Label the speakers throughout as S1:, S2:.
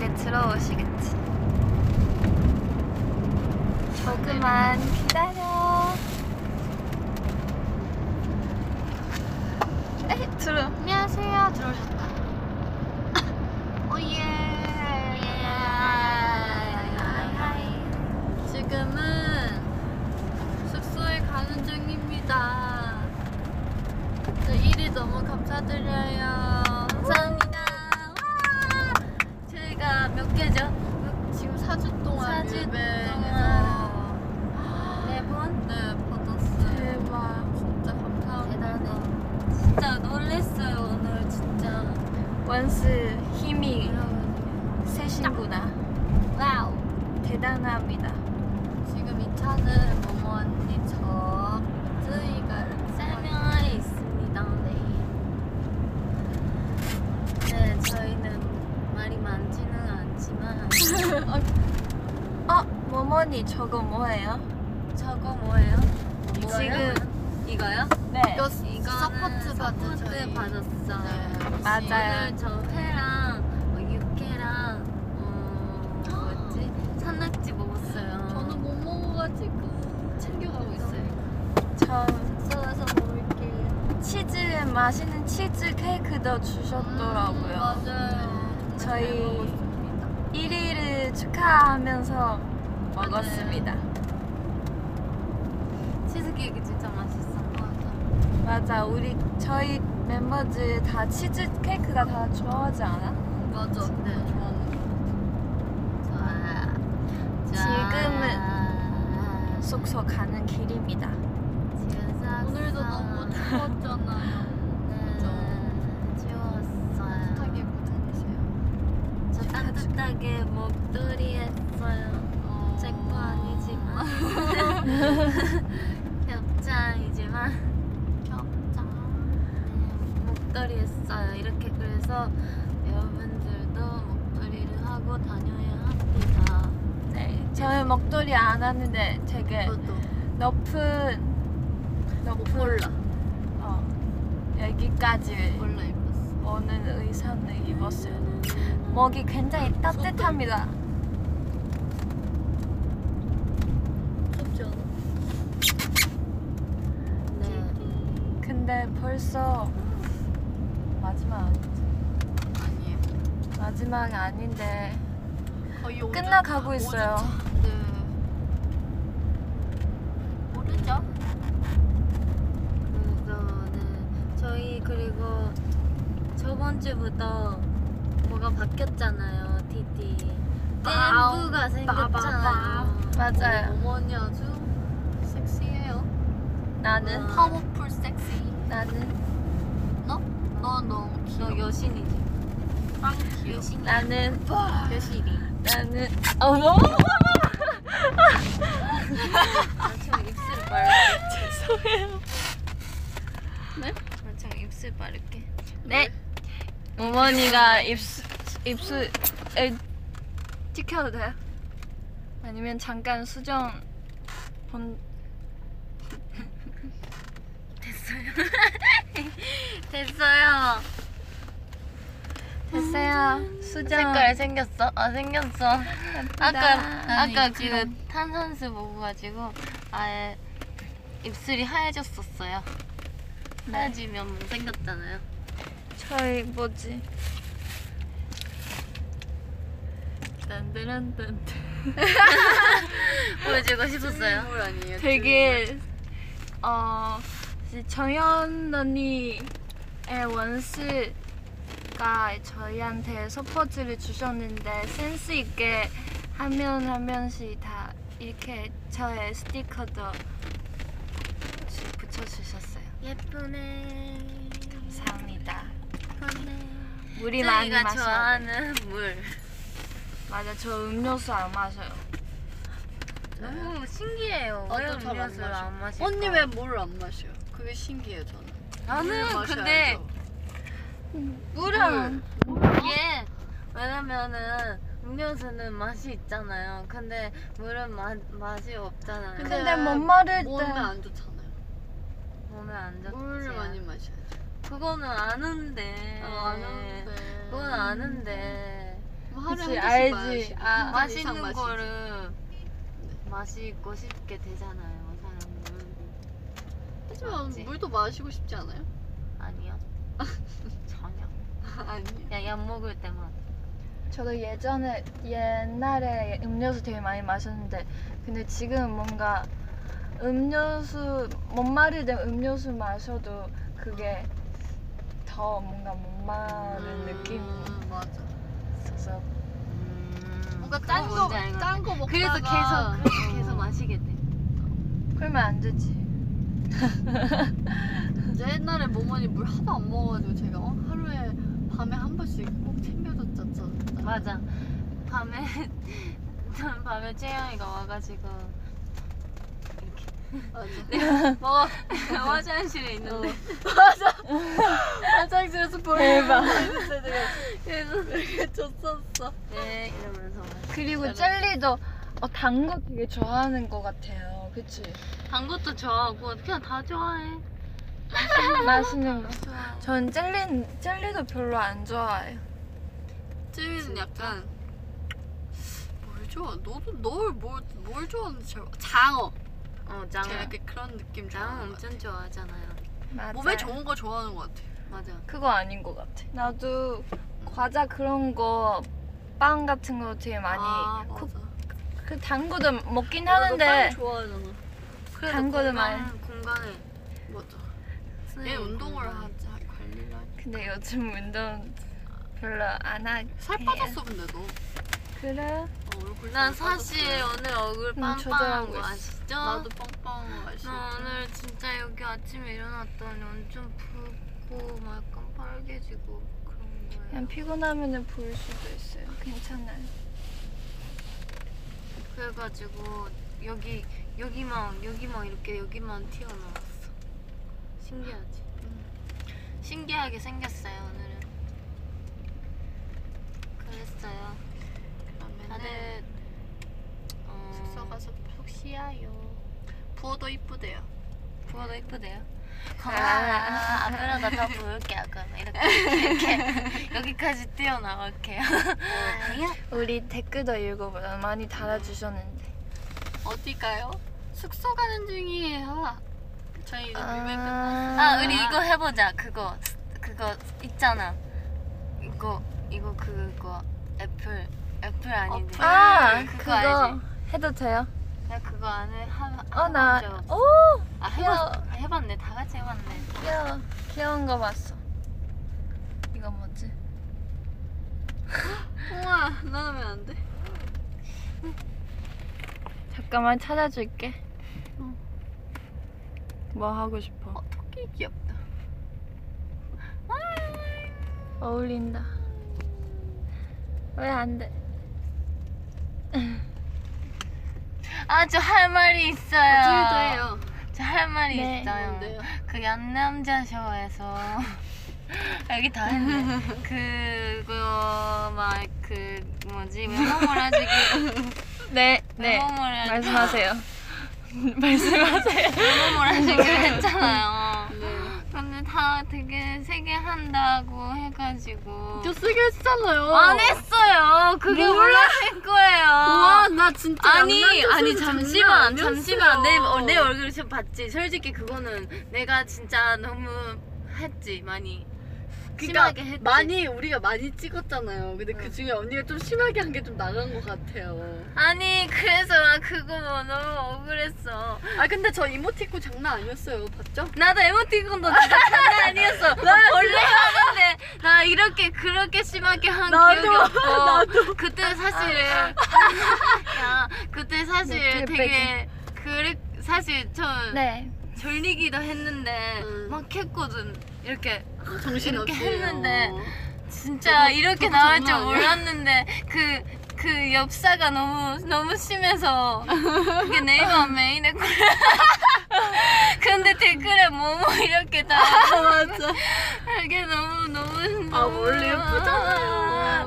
S1: 부러우시겠지. 조금만 기다려. 에이, 들어. 안녕하세요. 들어오셨다. 어, 오예. 지금은 숙소에 가는 중입니다. 저 일이 너무 감사드려요. 감사합니다. 와! 저희가 몇 개죠?
S2: 지금 4주 동안
S1: 사주
S2: 뮤뱅에서
S1: 동안. 네 번?
S2: 네 받았어요.
S1: 대박.
S2: 진짜 감사합니다.
S1: 대단해. 진짜 놀랬어요 오늘 진짜.
S3: 원스 힘이 세신구나.
S1: 네. 와우.
S3: 대단합니다.
S2: 지금 이 차는 모모 언니 저 쯔이가 이렇게
S1: 설명이 있습니다. 네. 네, 저희는 말이 많지는 않지만
S3: 어, 모모니 저거 뭐예요?
S1: 저거 뭐예요?
S3: 지금
S1: 이거요?
S3: 네.
S2: 이거 서포트
S1: 서포트
S2: 받은 저희
S1: 받았어요.
S2: 네,
S3: 맞아요.
S1: 오늘 저 회랑 어, 육회랑 어, 뭐였지? 산낙지 먹었어요.
S2: 저는 못 먹어가지고 챙겨가고 있어요.
S3: 저
S1: 숙소에서 먹을게요.
S3: 치즈 맛있는 치즈 케이크도
S2: 음,
S3: 주셨더라고요.
S2: 맞아요.
S3: 저희
S2: 잘 먹었습니다.
S3: 1위를 축하하면서 먹었습니다.
S2: 네.
S1: 치즈케이크 진짜 맛있었어요.
S3: 맞아, 우리 저희 멤버들 다 치즈 케이크가 다 좋아하지 않아?
S2: 맞아.
S1: 네.
S2: 저는
S1: 좋아.
S3: 지금은 숙소 가는 길입니다.
S2: 오늘도
S3: 아.
S2: 너무 추웠잖아요. 따뜻하게 입고 다니세요.
S1: 저 따뜻하게 목도리 했어요.
S2: 어...
S1: 제 거 아니지만 겹장이지만
S2: 겹장.
S1: 네, 목도리 했어요. 이렇게 그래서 여러분들도 목도리를 하고 다녀야 합니다.
S3: 네. 저희 목도리 안 하는데 되게
S1: 저도
S3: 높은 높은
S2: 몰라.
S3: 어, 여기까지
S2: 몰라 입었어. 음.
S3: 오는 의상을 입었어요. 목이 굉장히 따뜻합니다.
S2: 덥지 않아?
S1: 네.
S3: 근데 벌써 마지막
S2: 아니에요.
S3: 마지막 아닌데
S2: 거의 오전-
S3: 끝나가고 있어요.
S2: 오전차. 네. 모르죠?
S1: 그래서 네 저희 그리고 저번 주부터 뭐가 바뀌었잖아요 디디
S2: 아우,
S1: 댄부가
S2: 빠바바.
S1: 생겼잖아요
S3: 맞아요.
S2: 어머니 아주 섹시해요.
S3: 나는
S1: 어.
S2: 파워풀 섹시.
S3: 나는
S2: 너? 너 너무 귀여워.
S1: 너 여신이지
S2: 빵 귀여워.
S3: 나는
S2: 여신이.
S3: 나는 어머
S1: 엄청 입술 빠르게
S3: 죄송해요.
S1: 엄청 입술 빠르게
S3: 네 어머니가 입수 입수 에, 찍혀도 돼요? 아니면 잠깐 수정 본
S1: 됐어요
S3: 됐어요 수정
S1: 생겼어? 아 생겼어 아까
S3: 아까
S1: 아까 그 탄산수 먹어가지고 아예 입술이 하얘졌었어요
S3: 네.
S1: 하얘지면 못생겼잖아요
S3: 저희 뭐지? 딴딴딴
S1: 보여주고 싶었어요
S2: 물 아니에요.
S3: 되게 어 이제 정연 언니의 원스가 저희한테 서포트를 주셨는데 센스 있게 한 면 한 면씩 다 이렇게 저의 스티커도 주- 붙여주셨어요.
S1: 예쁘네.
S3: 감사합니다.
S1: 예쁘네.
S3: 물이 많이
S1: 쯔이가
S3: 마셔야 돼.
S1: 좋아하는 물.
S3: 맞아, 저 음료수 안 마셔요.
S1: 너무 신기해요. 왜
S2: 나도 잘안
S1: 음료수를
S2: 마셔.
S1: 안 마실까?
S2: 언니 왜 물을 안 마셔? 그게 신기해요 저는. 물
S1: 나는
S2: 마셔야죠. 음.
S1: 근데
S3: 물은
S1: 이게 왜냐면은 음료수는 맛이 있잖아요. 근데 물은 마, 맛이 없잖아요.
S2: 근데
S3: 근데 못 마를 때
S2: 몸에 안 좋잖아요.
S1: 몸에 안 좋지.
S2: 물을 많이 마셔야죠. 네. 어,
S1: 그거는 아는데.
S2: 아, 안 하는데.
S1: 그건 아는데.
S2: 뭐
S1: 하루에
S3: 그치,
S1: 한
S3: 알지.
S1: 잔씩 마시-
S3: 아,
S1: 한잔
S2: 맛있는
S1: 이상 마시지.
S2: 거를
S1: 마시고 싶게 되잖아요 사람은
S2: 하지만
S1: 맞지?
S2: 물도 마시고 싶지 않아요?
S1: 아니요 전혀
S2: 아니.
S1: 그냥 약 먹을 때만
S3: 저도 예전에 옛날에 음료수 되게 많이 마셨는데 근데 지금 뭔가 음료수 목마를 때 음료수 마셔도 그게 더 뭔가 목마른
S2: 음.
S3: 느낌이
S2: 맞아.
S3: 있어서
S1: 음,
S2: 뭔가 짠 거, 짠 거 먹다가 어.
S1: 그래서 계속 그래서 계속 마시게 돼
S3: 그러면 안 되지
S2: 이제 옛날에 모모니 물 하도 안 먹어가지고 제가 어? 하루에 밤에 한 번씩 꼭 챙겨줬었잖아.
S1: 맞아 밤에 전 밤에 채영이가 와가지고
S2: 맞아.
S1: 먹어 화장실에 있는데
S2: 화장실에서 보이는
S3: 대박.
S2: 진짜 내가 계속 이렇게 줬었어.
S1: 네 이러면서
S3: 그리고
S2: 잘했어.
S3: 젤리도 어, 단 거 되게 좋아하는 것 같아요 그치?
S1: 단 것도 좋아하고 그냥 다 좋아해
S3: 맛있는 거
S2: 좋아.
S3: 전 젤리, 젤리도 별로 안 좋아해요
S2: 쯔위는 약간 뭘 좋아? 너도 널뭘 뭘 좋아하는지 잘 몰라. 장어.
S1: 어
S2: 제가
S1: 장어
S2: 약간 그런 느낌
S1: 장어
S2: 좋아하는 것 같아.
S1: 엄청 좋아하잖아요
S3: 맞아요.
S2: 몸에 좋은 거 좋아하는 것 같아.
S1: 맞아
S3: 그거 아닌 것 같아. 나도 과자 그런 거, 빵 같은 거 되게 많이
S2: 아,
S3: 쿡-
S2: 맞아.
S3: 그 단거도 먹긴
S2: 나도 빵
S3: 하는데
S2: 좋아하잖아.
S1: 그래도
S3: 단 거는
S1: 건강-
S3: 많이- 음.
S1: 건강해
S2: 맞아.
S1: 선생님,
S3: 네,
S2: 얘 운동을
S1: 건강해.
S2: 하지 아, 관리를 하지.
S3: 근데 요즘 운동 별로 안 하. 해요.
S2: 살 예. 빠졌어 근데 너.
S3: 그래?
S2: 어, 얼굴
S1: 난
S2: 살 빠졌어.
S1: 사실 오늘 얼굴
S3: 음,
S1: 빵빵한
S3: 조절하고
S1: 거
S3: 있어.
S1: 아시죠?
S2: 나도 빵빵한 거 아시죠?
S1: 나 오늘 진짜 여기 아침에 일어났더니 완전 붓고 막 약간 빨개지고 그런 거예요.
S3: 그냥 피곤하면은 부을 수도 있어요. 괜찮아요.
S1: 그래가지고 여기 여기만 여기만 이렇게 여기만 튀어나왔어. 신기하지?
S2: 음.
S1: 신기하게 생겼어요 오늘은. 그랬어요.
S2: 그러면은
S1: 다들 어,
S2: 숙소 가서
S1: 푹 쉬어요.
S2: 부어도 이쁘대요.
S1: 부어도 이쁘대요. 아, 앞으로도 더 부을게요. 그럼 이렇게 이렇게 여기까지 뛰어나갈게요. 아니야.
S3: 우리 댓글도 읽어보자. 많이 달아주셨는데.
S2: 어디가요? 숙소 가는 중이에요. 저희 이제 밀백 끝.
S1: 아 우리 이거 해보자. 그거 그거 있잖아. 이거 이거 그거 애플 애플 아닌데.
S3: 아
S1: 그거
S3: 그거
S1: 알지?
S3: 해도 돼요?
S1: 나 그거 안에
S3: 어나
S1: 한한번적아
S3: 오.
S1: 해봤 해봤네. 다 같이 해봤네.
S3: 귀여워. 귀여운 거 봤어. 이거 뭐지?
S2: 우와, 나는 왜 안 돼?
S3: 잠깐만 찾아줄게. 뭐 하고 어. 싶어?
S2: 어, 토끼 귀엽다.
S3: 어울린다. 왜 안 돼?
S1: 아 저 할 말이
S2: 아.
S1: 있어요.
S2: 찔도예요.
S1: 저 할 말이
S3: 네.
S1: 있어요.
S2: 뭔데요?
S1: 그 연남자 쇼에서 여기 다 했네. 그거 막 그 뭐지 외모몰아주기
S3: 네, 네.
S1: 외모몰아주기
S3: 말씀하세요. 말씀하세요.
S1: 외모몰아주기 했잖아요.
S2: 네.
S1: 근데 다 되게 세게 한다고 해가지고
S2: 저 쓰게 했잖아요.
S1: 안 했어요. 그게
S2: 몰라?
S1: 몰랐을 거예요.
S2: 우와, 나 진짜
S1: 아니
S2: 양남자
S1: 아니
S2: 소리
S1: 잠시만
S2: 장난
S1: 잠시만 내,
S2: 아니었어요.
S1: 어, 내 얼굴을 지금 봤지 솔직히 그거는 내가 진짜 너무 했지 많이 심하게 했지
S2: 그러니까 많이 우리가 많이 찍었잖아요. 근데 그 중에 언니가 좀 심하게 한 게 좀 나간 것 같아요.
S1: 아니 그래서 나 그거 뭐 너무 억울했어
S2: 아 근데 저 이모티콘 장난 아니었어요. 봤죠?
S1: 나도 에모티콘도 진짜 장난 아니었어 나 원래 하는데 나 이렇게 그렇게 심하게 한
S2: 나도, 아.
S1: 기억이 없고 그때 사실 야 그때
S3: 네,
S1: 사실
S3: 뒤에
S1: 되게 그래 사실 전
S3: 네.
S1: 졸리기도 했는데
S2: 음.
S1: 막 했거든 이렇게
S2: 아, 정신 없이 어.
S1: 이렇게 했는데 진짜
S2: 저도-
S1: 이렇게
S2: 저도
S1: 나올 줄
S2: 장난 아니야.
S1: 몰랐는데 그 그 엽사가 너무 너무 심해서 그게 네이버 메인에 콜- 근데 댓글에 뭐뭐 이렇게 다
S2: 맞아.
S1: 이게 너무 너무
S2: 아, 원래 예쁘잖아요.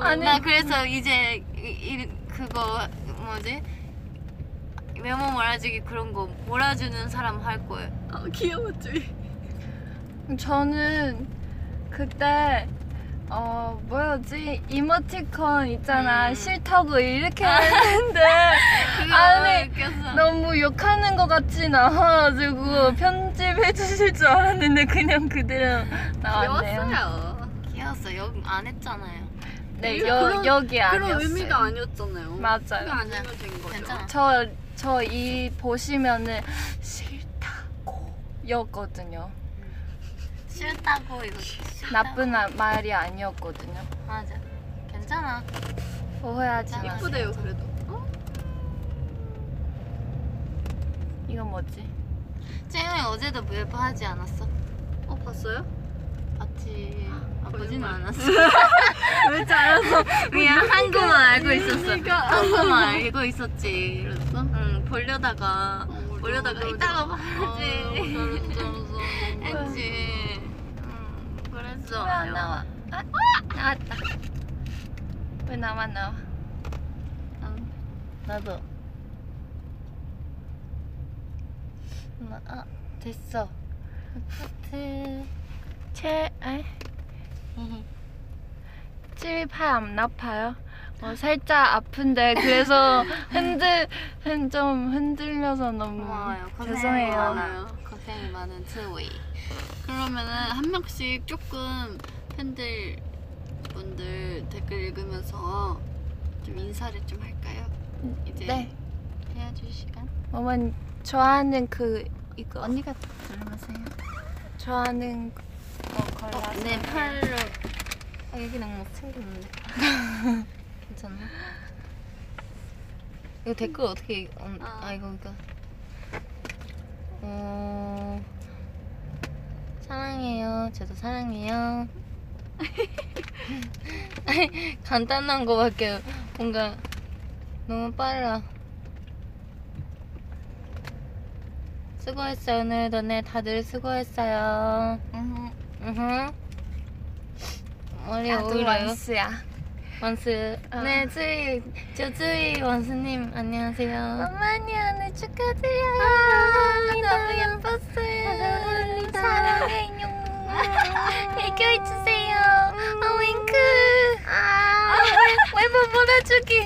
S1: 아니 음.
S3: 아니.
S1: 나 그래서 이제 이, 이- 그거 뭐지 외모 몰아주기 그런 거 몰아주는 사람 할 거예요.
S2: 아, 귀여웠지.
S3: 저는 그때 어 뭐였지 이모티콘 있잖아
S1: 음.
S3: 싫다고 이렇게 했는데
S1: 그게
S3: 아니,
S1: 너무 웃겼어.
S3: 너무 욕하는 것 같진 않아가지고 편집해 주실 줄 알았는데 그냥 그대로
S2: 아,
S3: 나왔네요.
S2: 귀여웠어요.
S1: 귀여웠어. 여기 안 했잖아요.
S3: 네
S2: 그런-
S3: 여, 여기 아니었어요.
S2: 그런 의미가 아니었잖아요. 그게
S3: 맞아요.
S2: 아니면 된 거죠.
S1: 괜찮아.
S3: 저 저 이 보시면은 싫다고 였거든요.
S1: 싫다고 이거. 싫다고.
S3: 나쁜 아- 말이 아니었거든요.
S1: 맞아. 괜찮아.
S3: 오해하지 마.
S1: 괜찮아.
S2: 예쁘대요 그래도. 어?
S3: 이건 뭐지?
S1: 채영이 어제도 뭐 예뻐하지 않았어?
S2: 어 봤어요?
S1: 봤지. 아, 보진
S2: 거짓말.
S1: 않았어. 왜지 알았어? 미안, 한국만 알고 있었어. 한국만 알고 있었지.
S2: 그랬어?
S1: 그러니까. 응, 보려다가,
S2: 어, 뭐
S1: 보려다가 어, 이따가 봐야지.
S2: 봐야지.
S1: 했지. 응, 그랬어.
S3: 왜 안 나와? 아, 나왔다. 왜 나만 나와?
S1: 응.
S3: 나도. 나, 아, 됐어. 하트. 채, 아이. 7팔안 아파요? 어, 살짝 아픈데 그래서 흔들 흔, 좀 흔들려서 너무
S1: 고마워요. 고생이
S3: 죄송해요.
S1: 많아요. 고생이 많은 트웨이.
S2: 그러면은 한 명씩 조금 팬들 분들 댓글 읽으면서 좀 인사를 좀 할까요? 이제
S3: 네,
S1: 헤어질 시간?
S3: 어머니 좋아하는 그 이거
S1: 언니가 들으면서 해요.
S3: 좋아하는 그, 어, 거 골라서
S1: 내 팔로.
S3: 아, 여기는 못 챙겼는데.
S1: 괜찮아? 이거 댓글 어떻게 읽- 음,
S2: 아.
S1: 아, 이거 이거 어 사랑해요 저도 사랑해요 아니, 간단한 거밖에 뭔가 너무 빨라 수고했어요 오늘 너네 다들 수고했어요
S3: 음,
S1: 으흠 머리
S3: 나도
S1: 네, 어울려요
S3: 원스야.
S1: 원스.
S3: 어.
S1: 네, 주희. 저 주희 원스님 안녕하세요.
S3: 어머니 오늘 축하드려요. 아, 너무 예뻤어요. 사랑해요.
S1: 애교해주세요.
S3: 어, 윙크. 아, 외모 몰아주기.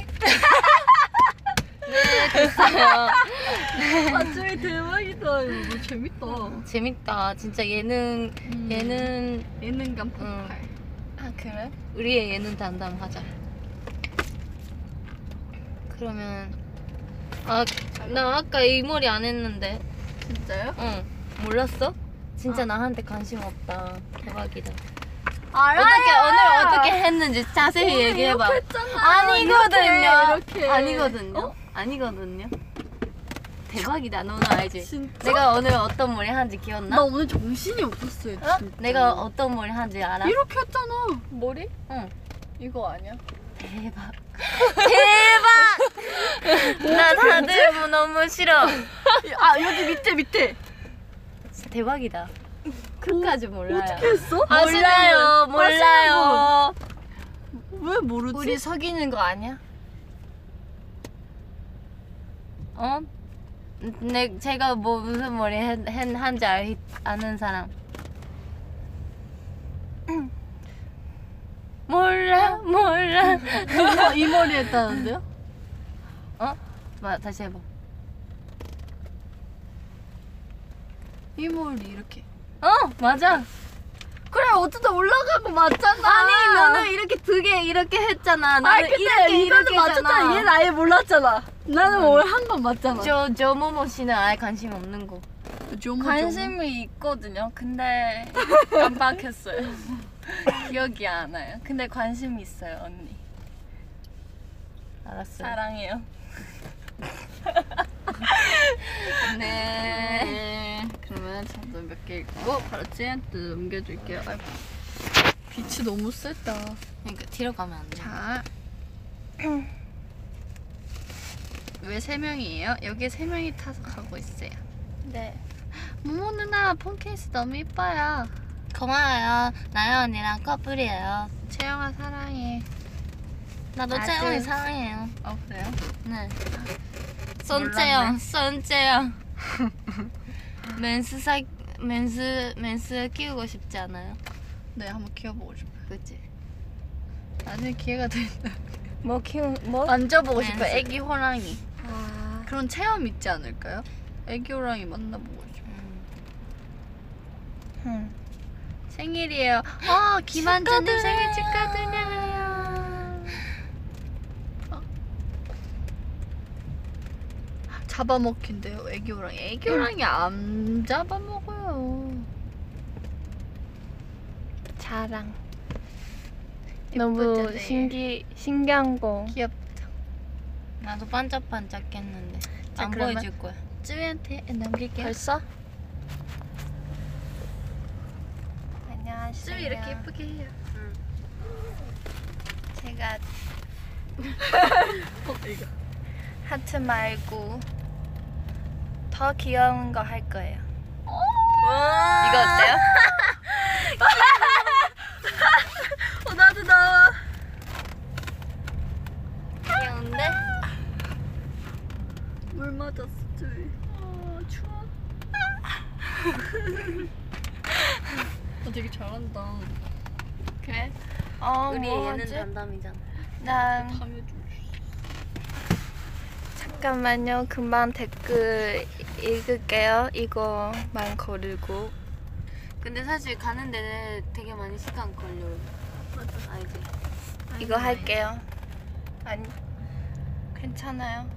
S1: 네,
S2: 아 저희 대박이다. 이거 뭐 재밌다.
S1: 재밌다. 진짜 예능
S3: 음.
S1: 예능
S2: 예능감
S1: 응.
S2: 폭발.
S3: 아 그래?
S1: 우리의 예능 담당하자. 그러면 아 나 아까 이 머리 안 했는데.
S2: 진짜요?
S1: 응. 몰랐어? 진짜
S3: 아.
S1: 나한테 관심 없다. 대박이다.
S3: 알아요.
S1: 어떻게 오늘 어떻게 했는지 자세히 얘기해 봐. 아, 뭐 아니거든요.
S2: 아, 이렇게, 어? 이렇게.
S1: 아니거든요. 아니거든요. 대박이다. 너는 알지?
S2: 진짜?
S1: 내가 오늘 어떤 머리 한지 기억나?
S2: 나 오늘 정신이 없었어요.
S1: 어?
S2: 진짜.
S1: 내가 어떤 머리 한지 알아?
S2: 이렇게 했잖아.
S3: 머리?
S1: 응.
S3: 이거 아니야?
S1: 대박. 대박. 나 다들 뭐 너무 싫어.
S2: 아 여기 밑에 밑에.
S1: 진짜 대박이다. 끝까지 그 몰라요. 아,
S2: 어떻게 아, 했어? 아,
S1: 몰라요. 몰라요.
S2: 왜 모르지?
S3: 우리 속이는 거 아니야?
S1: 어? 내 제가 뭐 무슨 머리 했, 했, 한지 알, 아는 사람. 몰라 몰라.
S2: 누가 어? 이 머리 했다는데요?
S1: 어? 마, 다시 해봐.
S2: 이 머리 이렇게.
S1: 어 맞아.
S2: 그래 어쩌다 올라가고 맞잖아.
S1: 아니 너는 이렇게 두 개 이렇게 했잖아.
S2: 아니
S1: 나는
S2: 근데
S1: 이렇게
S2: 이거도
S1: 이렇게
S2: 맞췄잖아. 얘는
S1: 했잖아. 음.
S2: 아예 몰랐잖아. 나는 뭘 한 건 맞잖아.
S1: 저저 모모 씨는 아예 관심 없는 거.
S3: 관심이 있거든요. 근데 깜빡했어요. 기억이 안 나요. 근데 관심이 있어요, 언니.
S1: 알았어. 요
S3: 사랑해요.
S2: 네. 그러면 잠도 몇개 읽고 바로 찌한테 어, 넘겨줄게요. 아이고. 빛이 너무 세다.
S1: 그러니까 뒤로 가면 안 돼.
S2: 자. 왜 세 명이에요? 여기 세 명이 타서 가고 있어요.
S3: 네.
S2: 모모 누나 폰케이스 너무 이뻐요.
S1: 고마워요. 나연 언니랑 커플이에요.
S2: 채영아 사랑해.
S1: 나도
S3: 아주-
S1: 채영이 사랑해요.
S2: 어 그래요?
S1: 네. 손재영, 손재영. 맨스 사 맨스 맨스 키우고 싶지 않아요?
S2: 네 한번 키워보고 싶어요.
S1: 그치
S4: 나중에 기회가 된다.
S3: 뭐 키우 뭐?
S2: 아,
S4: 만져보고 싶어
S1: 알았어.
S4: 애기 호랑이.
S3: 아,
S4: 그런 체험 있지 않을까요? 애기 호랑이 만나보고 싶어.
S3: 응.
S4: 생일이에요. 아 김한준님 생일 축하드려요. 어? 잡아먹힌대요 애기 호랑이. 애기 호랑이 안 잡아먹어요.
S3: 자랑.
S4: 예쁘잖아요.
S3: 너무 신기 신기한 거.
S4: 귀엽죠.
S1: 나도 반짝반짝했는데
S4: 자,
S1: 안
S4: 그러면-
S1: 보여줄 거야.
S4: 쯔위한테 넘길게요.
S3: 벌써?
S4: 쯔위
S3: 안녕하세요.
S4: 이렇게 예쁘게 해요.
S3: 제가
S4: 어,
S3: 하트 말고 더 귀여운 거 할 거예요.
S1: 이거 어때요?
S4: 어 나도 나와.
S1: 귀여운데?
S4: 물 맞았어 쯔위. 아 추워.
S2: 너 아, 되게 잘한다.
S1: 그래?
S3: 어,
S1: 우리
S3: 뭐
S1: 얘는
S3: 하지?
S1: 단담이잖아.
S3: 나
S2: 밤에 좀
S3: 잠깐만요. 금방 댓글 읽을게요. 이거만 고르고.
S1: 근데 사실 가는데 되게 많이 시간 걸려. 맞아. 알지?
S3: 이거 할게요. 아니 괜찮아요.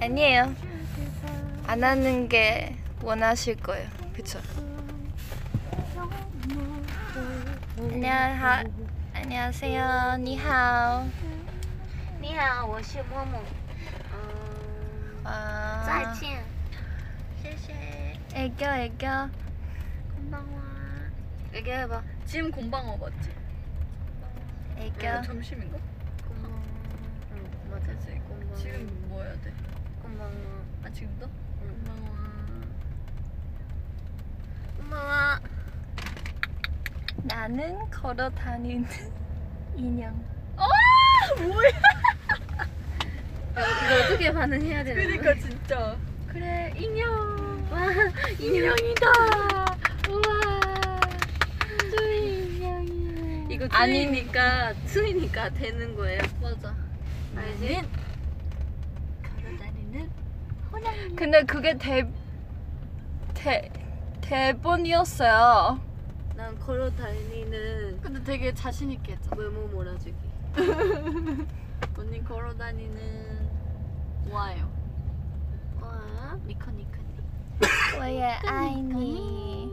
S3: 아니에요. 안 하는 게 원하실 거예요. 그쵸? 안녕하 안녕하세요. 니하오.
S1: 你好，我是默默。 어,
S3: 아,
S1: 再见。
S3: 애교 애교.
S1: 얘기해봐.
S2: 지금 공방어 맞지?
S3: 애교.
S2: 점심인가?
S1: 고마워. 응, 맞아.
S2: 그치?
S1: 고마워.
S2: 지금 뭐 해야 돼?
S1: 고마워.
S2: 아 지금도?
S1: 응.
S2: 공방어.
S1: 고마워.
S3: 나는 걸어 다니는 인형.
S1: 이거 어떻게 반응해야 되는 거야?
S2: 그러니까 진짜.
S1: 그래, 인형. 와, 인형이다. 우와. 쭈이
S2: 그러니까.
S1: 인형이야. 이거 아니니까, 쭈이니까 되는 거예요.
S2: 맞아.
S1: 알지? 걸어다니는 호랑이.
S3: 근데 그게 대, 대 대본이었어요.
S1: 난 걸어다니는
S2: 근데 되게 자신 있게 했잖아.
S1: 외모 몰아주기.
S2: 언니 걸어다니는 와요.
S1: 와.
S2: 니커 니커 니.
S3: 我也爱你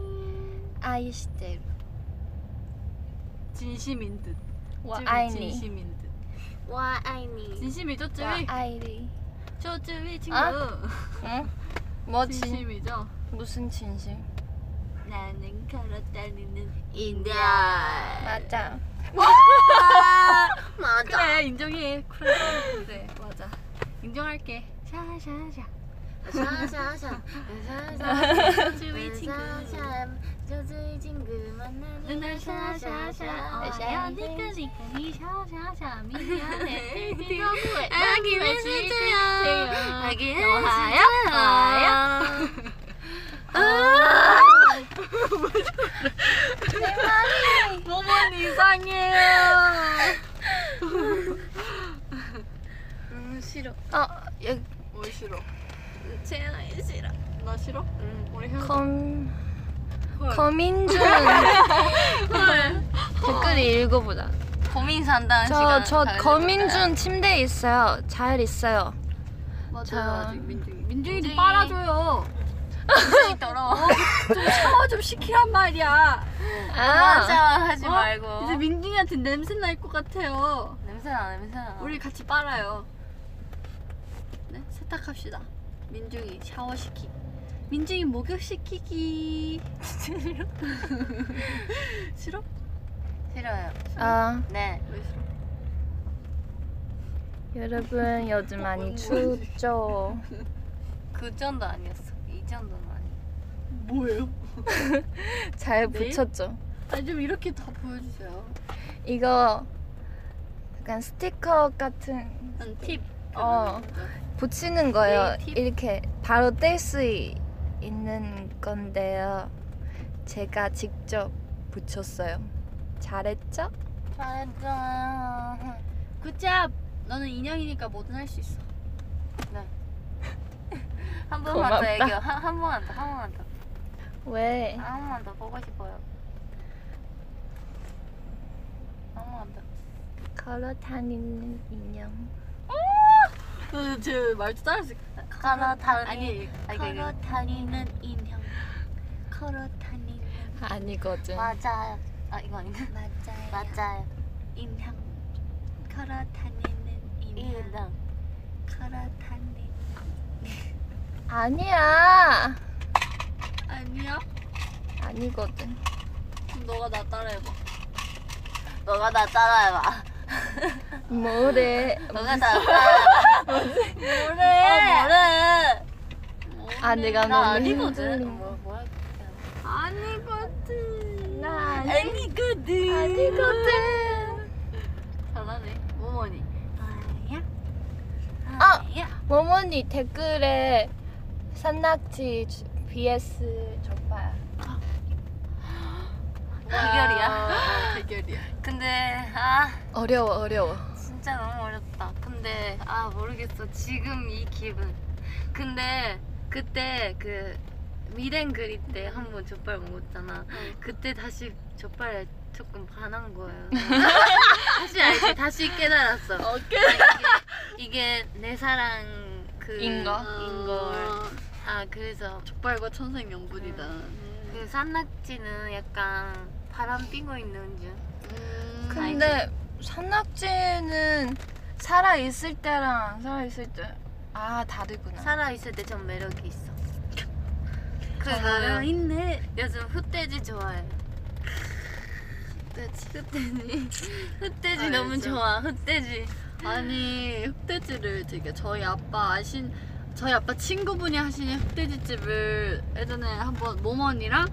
S3: 爱してる
S2: 진심인 듯.
S3: 我
S2: 쯔위
S3: 爱你
S2: 진심인 듯.
S1: 와, 아이니.
S2: 진심이죠
S3: 我
S2: 쯔위?
S3: 爱你
S2: 저 쯔위 친구.
S3: 아? 응? 뭐 진,
S2: 진심이죠.
S3: 무슨 진심?
S1: 나는 걸어다니는
S2: 인디아.
S3: 맞아
S1: 맞아.
S2: 그래 인정해. 그래. 그래 맞아. 인정할게. 샤샤샤.
S1: 샤샤샤. 샤샤샤.
S2: 쯔위 친구.
S1: 저 친구 만나는
S2: 누나 샤샤샤. 어야 니커 니커 니 샤샤샤.
S1: 네.
S2: 미안해.
S1: 귀여워.
S2: 네, 아기
S1: 네,
S2: 메시지요.
S1: 아기
S2: 좋아요.
S1: 좋아요.
S2: 몸은 이상해요.
S1: 음 싫어.
S3: 어 여기
S2: 뭘 싫어?
S1: 채연아 싫어.
S2: 나 싫어?
S1: 응.
S2: 우리 형.
S3: 검
S2: 헐.
S3: 검인준 댓글 읽어보자
S1: 고민 산다는
S3: 저
S1: 시간.
S3: 저 검인준 침대에 있어요 잘 있어요
S2: 맞아.
S3: 자.
S2: 민중이. 민중이 좀
S1: 민중이.
S2: 빨아줘요.
S1: 굉장히 더러워.
S2: 좀 샤워 좀 시키란 말이야.
S3: 아
S1: 맞아 하지
S2: 어?
S1: 말고.
S2: 이제 민중이한테 냄새 날 것 같아요.
S1: 냄새나 냄새나.
S2: 우리 같이 빨아요. 네? 세탁합시다. 민중이 샤워시키. 민중이 목욕시키기. 싫어? 싫어?
S1: 싫어요.
S3: 아,
S1: 네.
S2: 왜 싫어?
S3: 여러분 요즘 많이 춥죠
S1: 그 정도 아니었어. 이 정도는 아니.
S2: 뭐예요?
S3: 잘
S2: 네?
S3: 붙였죠
S2: 아니 좀 이렇게 다 보여주세요.
S3: 이거 약간 스티커 같은
S2: 난 팁.
S3: 어. 붙이는
S4: 네,
S3: 거예요. 이렇게 바로 뗄 수 있는 건데요. 제가 직접 붙였어요. 잘했죠?
S1: 잘했다.
S2: 굿잡. 너는 인형이니까 뭐든 할 수 있어.
S1: 한 번만 더
S3: 고맙다.
S1: 애교. 한, 한 번만 더, 한 번만 더.
S4: 왜?
S1: 한 번만 더 보고 싶어요. 한 번만 더.
S4: 걸어 다니는 인형. 어,
S2: 제 말투 따라서
S1: 걸어 다니.
S2: 아니 그러니까
S1: 아, 이거, 이거.
S4: 다니는 인형. 걸어 다니는
S3: 아니거든.
S1: 맞아요. 아 이거 아닌가?
S4: 맞아요.
S1: 맞아요.
S4: 인형. 걸어 다니는
S2: 예.
S1: 이거
S4: 걸어 다니는. 아니야.
S2: 아니야.
S4: 아니거든.
S2: 그럼 너가 나 따라해봐.
S1: 너가 나 따라해봐.
S4: 뭐래?
S1: 너가 나 따라해봐. 아, 뭐래? 어, 뭐래?
S4: 아 내가
S1: 나
S4: 너무
S2: 네.
S1: 아니거든.
S4: 힘들어.
S1: 뭐 뭐야?
S2: 아니거든.
S4: 나 아니-
S2: 아니거든.
S4: 아니거든.
S1: 잘하네. 모모니. 어! 아야.
S4: 아!
S1: 아야.
S4: 어머니 댓글에 산낙지 주- vs 족발.
S2: 아. 대결이야. 대결이야.
S1: 아, 근데 아.
S4: 어려워 어려워.
S1: 진짜 너무 어렵다. 근데 아 모르겠어. 지금 이 기분. 근데 그때 그 미랭 그리 때 한 번 족발 먹었잖아. 그때 다시 족발에 조금 반한 거예요. 다시 알지? 다시 깨달았어. 이게, 이게 내 사랑 그
S3: 인 거?
S1: 인걸. 아 그래서
S2: 어, 족발과 천생 명분이다.
S4: 음,
S1: 그 산낙지는 약간 바람 피고 있는 중.
S2: 음.
S3: 근데 산낙지는 살아 있을 때랑 안 살아 있을 때 아 다르구나.
S1: 살아 있을 때 전 매력이 있어. 그
S2: 아, 있네.
S1: 요즘 흑돼지 좋아해.
S2: 흑돼지.
S1: 흑돼지
S2: 아,
S1: 너무
S2: 요즘.
S1: 좋아. 흑돼지.
S2: 아니 흑돼지를 되게 저희 아빠 아신 저희 아빠 친구분이 하시는 흑돼지집을 예전에 한번 모언니랑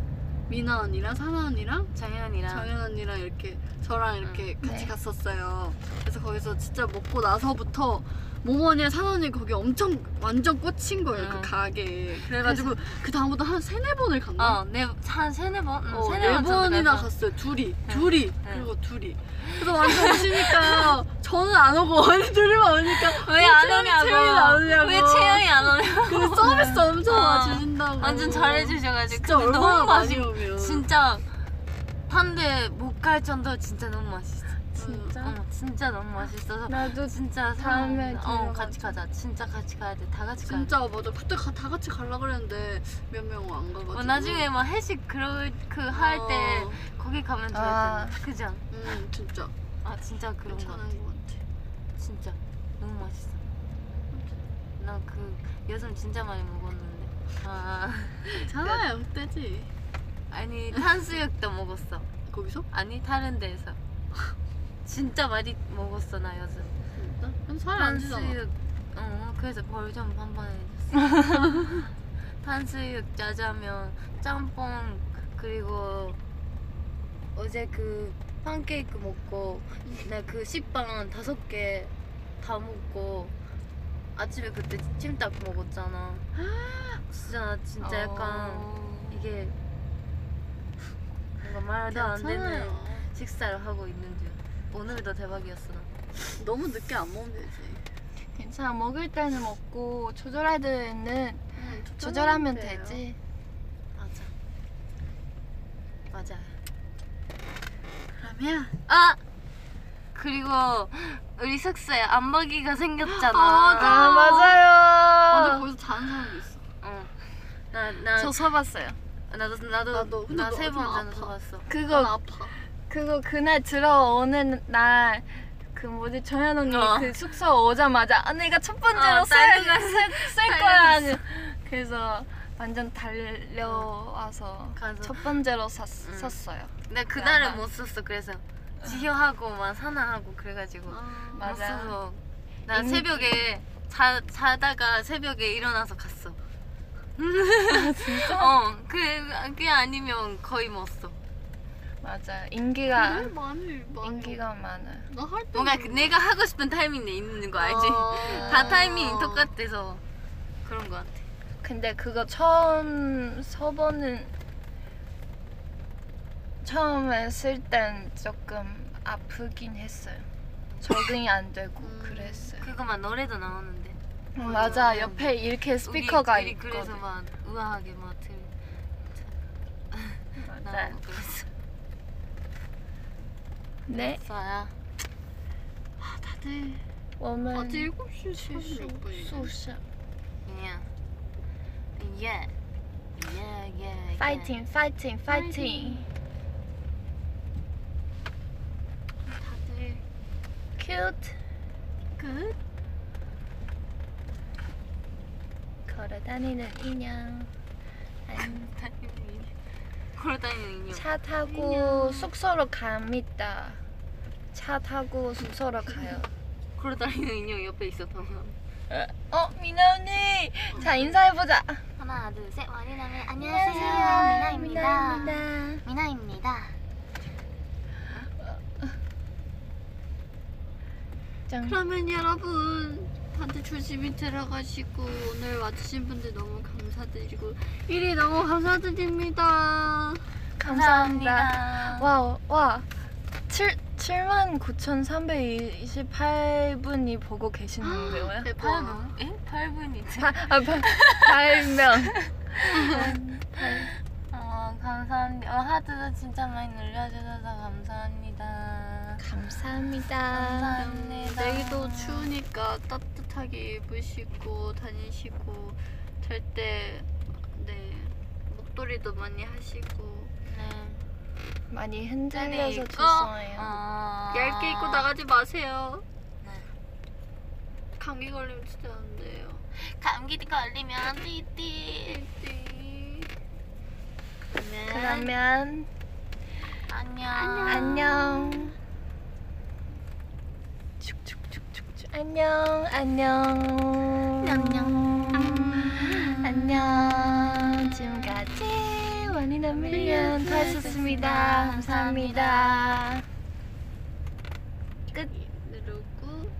S2: 미나 언니랑 사나 언니랑
S1: 정현이랑.
S2: 정연 언니랑 이렇게 저랑 이렇게 같이
S4: 네.
S2: 갔었어요. 그래서 거기서 진짜 먹고 나서부터 모모니랑 산원이 거기 엄청 완전 꽂힌 거예요
S1: 응.
S2: 그 가게에. 그래가지고 그 다음부터 한 세네 번을 갔나?
S1: 어, 네, 한 세네 번? 응,
S2: 어,
S1: 세네
S2: 네
S1: 번 정도
S2: 번이나
S1: 가서.
S2: 갔어요. 둘이, 둘이, 그리고 둘이. 그래서 완전 오시니까 저는 안 오고 언니 둘이만 오니까
S1: 왜 안 오냐고.
S2: 채영이 안 오냐고.
S1: 왜 채영이 안 오냐고.
S2: 그 서비스 엄청
S1: 어.
S2: 와 주신다고.
S1: 완전 잘해주셔가지고.
S2: 진짜
S1: 근데
S2: 얼마나
S1: 너무
S2: 많이
S1: 맛있어.
S2: 오면.
S1: 진짜. 탄데 못 갈 정도 진짜 너무 맛있어.
S2: 진짜?
S1: 어, 진짜 너무 맛있어서.
S4: 나도
S1: 진짜
S4: 다음에
S1: 사람- 어, 같이 가자. 진짜 같이 가야 돼. 다 같이 가야 돼.
S2: 진짜 맞아. 그때 가, 다 같이 가려 그랬는데 몇 명 안 가가지고. 어.
S1: 어, 나중에 막 회식 그럴 그 할 때 거기 가면 좋을 텐데.
S3: 아.
S1: 그죠?
S2: 음 진짜
S1: 아 진짜 그런 거 같아.
S2: 괜찮은 것 같아.
S1: 진짜 너무 맛있어. 나 그 요즘 진짜 많이 먹었는데. 아
S2: 괜찮아요, 흑돼지.
S1: 아니 탄수육도 먹었어.
S2: 거기서?
S1: 아니 다른 데에서. 진짜 많이 먹었어 나 요즘.
S2: 진짜? 근데 살이 안 찌잖아.
S1: 탄수육. 어 그래서 벌좀 반반해졌어. 탄수육 짜장면 짬뽕 그리고 어제 그 팬케이크 먹고 나 그 식빵 다섯 개 다 먹고 아침에 그때 찜닭 먹었잖아. 진짜 나 진짜
S2: 어.
S1: 약간 이게 뭔가 말도 안 되는
S2: 괜찮아요.
S1: 식사를 하고 있는 중. 오늘도 대박이었어. 나.
S2: 너무 늦게 안 먹으면 되지.
S3: 괜찮아 먹을 때는 먹고 조절할 때는
S2: 응,
S3: 조절하면
S2: 조절하면 돼요.
S3: 되지.
S1: 맞아. 맞아.
S2: 그러면
S1: 아 그리고 우리 숙소에 안마기가 생겼잖아.
S2: 아, 맞아.
S3: 아
S2: 아,
S3: 맞아요.
S2: 근데 거기서 자는 사람도 있어.
S1: 어. 나나
S3: 저 서봤어요.
S1: 나도 나도
S2: 나도. 근데 너
S1: 나세번
S2: 좀
S1: 전에
S2: 아파.
S1: 써봤어.
S2: 난
S3: 그거
S2: 아파.
S3: 그거 그날 들어오는 날 그 뭐지 정현 언니
S1: 어.
S3: 그 숙소 오자마자 아 내가 첫 번째로
S1: 어,
S3: 쓸,
S1: 딸기가
S3: 쓸, 쓸
S1: 딸기가
S3: 거야 그래서 완전 달려와서
S1: 가서.
S3: 첫 번째로 샀,
S1: 응.
S3: 샀어요
S1: 나 그날은
S3: 아마-
S1: 못 썼어. 그래서 지효하고 막 사나하고 그래가지고
S2: 아,
S1: 못
S3: 맞아.
S1: 써서 나
S3: 인-
S1: 새벽에 자 자다가 새벽에 일어나서 갔어. 진짜? 어, 그, 그게 아니면 거의 못 써.
S3: 맞아 인기가
S2: 그래,
S1: 음,
S2: 많이 많이.
S3: 그러니까 인기가 많아요
S2: 나할때
S1: 뭔가 그 내가 하고 싶은 타이밍에 있는 거 알지?
S2: 아.
S1: 다 타이밍이 똑같아서 그런 거 같아.
S3: 근데 그거 처음 서버는 처음에 쓸 땐 조금 아프긴 했어요. 적응이 안 되고
S2: 음.
S3: 그랬어요.
S1: 그거만 노래도 나오는데
S3: 어, 맞아 옆에 이렇게 스피커가
S1: 우리, 우리
S3: 있거든.
S1: 그래서 막 우아하게 막 들.
S3: 맞아요.
S1: 나오고 그랬어.
S3: 네,
S1: 좋아요.
S2: 아, 다들
S1: 음.
S3: 오늘
S2: 어제 7시 36분이네.
S3: 소셜
S1: 그냥 예. 예, 예. 예.
S3: 파이팅, 파이팅, 파이팅.
S2: 다들
S3: 큐트
S2: 끝.
S3: 걸어다니는 인형. 안-
S1: 다니는 인형. 걸어다니는 인형.
S3: 차 타고
S2: 인형.
S3: 숙소로 갑니다. 차 타고 숙소로 가요.
S1: 걸어다니는 인형 옆에 있었던 거.
S3: 어, 미나 언니. 자 인사해 보자.
S1: 하나, 둘, 셋. 와리나미
S3: 미나입니다.
S1: 미나입니다.
S3: 짱.
S2: 그러면 여러분 다들 조심히 들어가시고 오늘 와주신 분들 너무 감사드리고 일이 너무 감사드립니다.
S3: 감사합니다. 와우, 와. 7 7만 9,328분이 보고
S1: 네,
S3: 계시는데요.
S2: 네,
S1: 뭐. 어.
S2: 대박.
S1: 8분? 8분이지.
S3: 아, 아, 발- 발명.
S1: 어, 감사합니다. 어, 하트도 진짜 많이 눌려주셔서 감사합니다.
S3: 감사합니다.
S1: 감사합니다.
S2: 내일도 추우니까 따뜻하게 입으시고 다니시고 절대 네 목도리도 많이 하시고
S1: 네.
S3: 많이
S2: 네,
S3: 흔들려서
S2: 이거.
S3: 죄송해요.
S1: 아.
S2: 얇게 입고 나가지 마세요.
S1: 네.
S2: 감기 걸리면 진짜 안 돼요.
S1: 감기 걸리면 띠띠.
S2: 띠.
S1: 그러면
S3: 그러면
S1: 안녕.
S3: 안녕. 축축축축축. 안녕. 안녕. 음. 안녕. 안녕. 지금까지 원인한 밀리언 터였습니다. 감사합니다.
S2: 누르고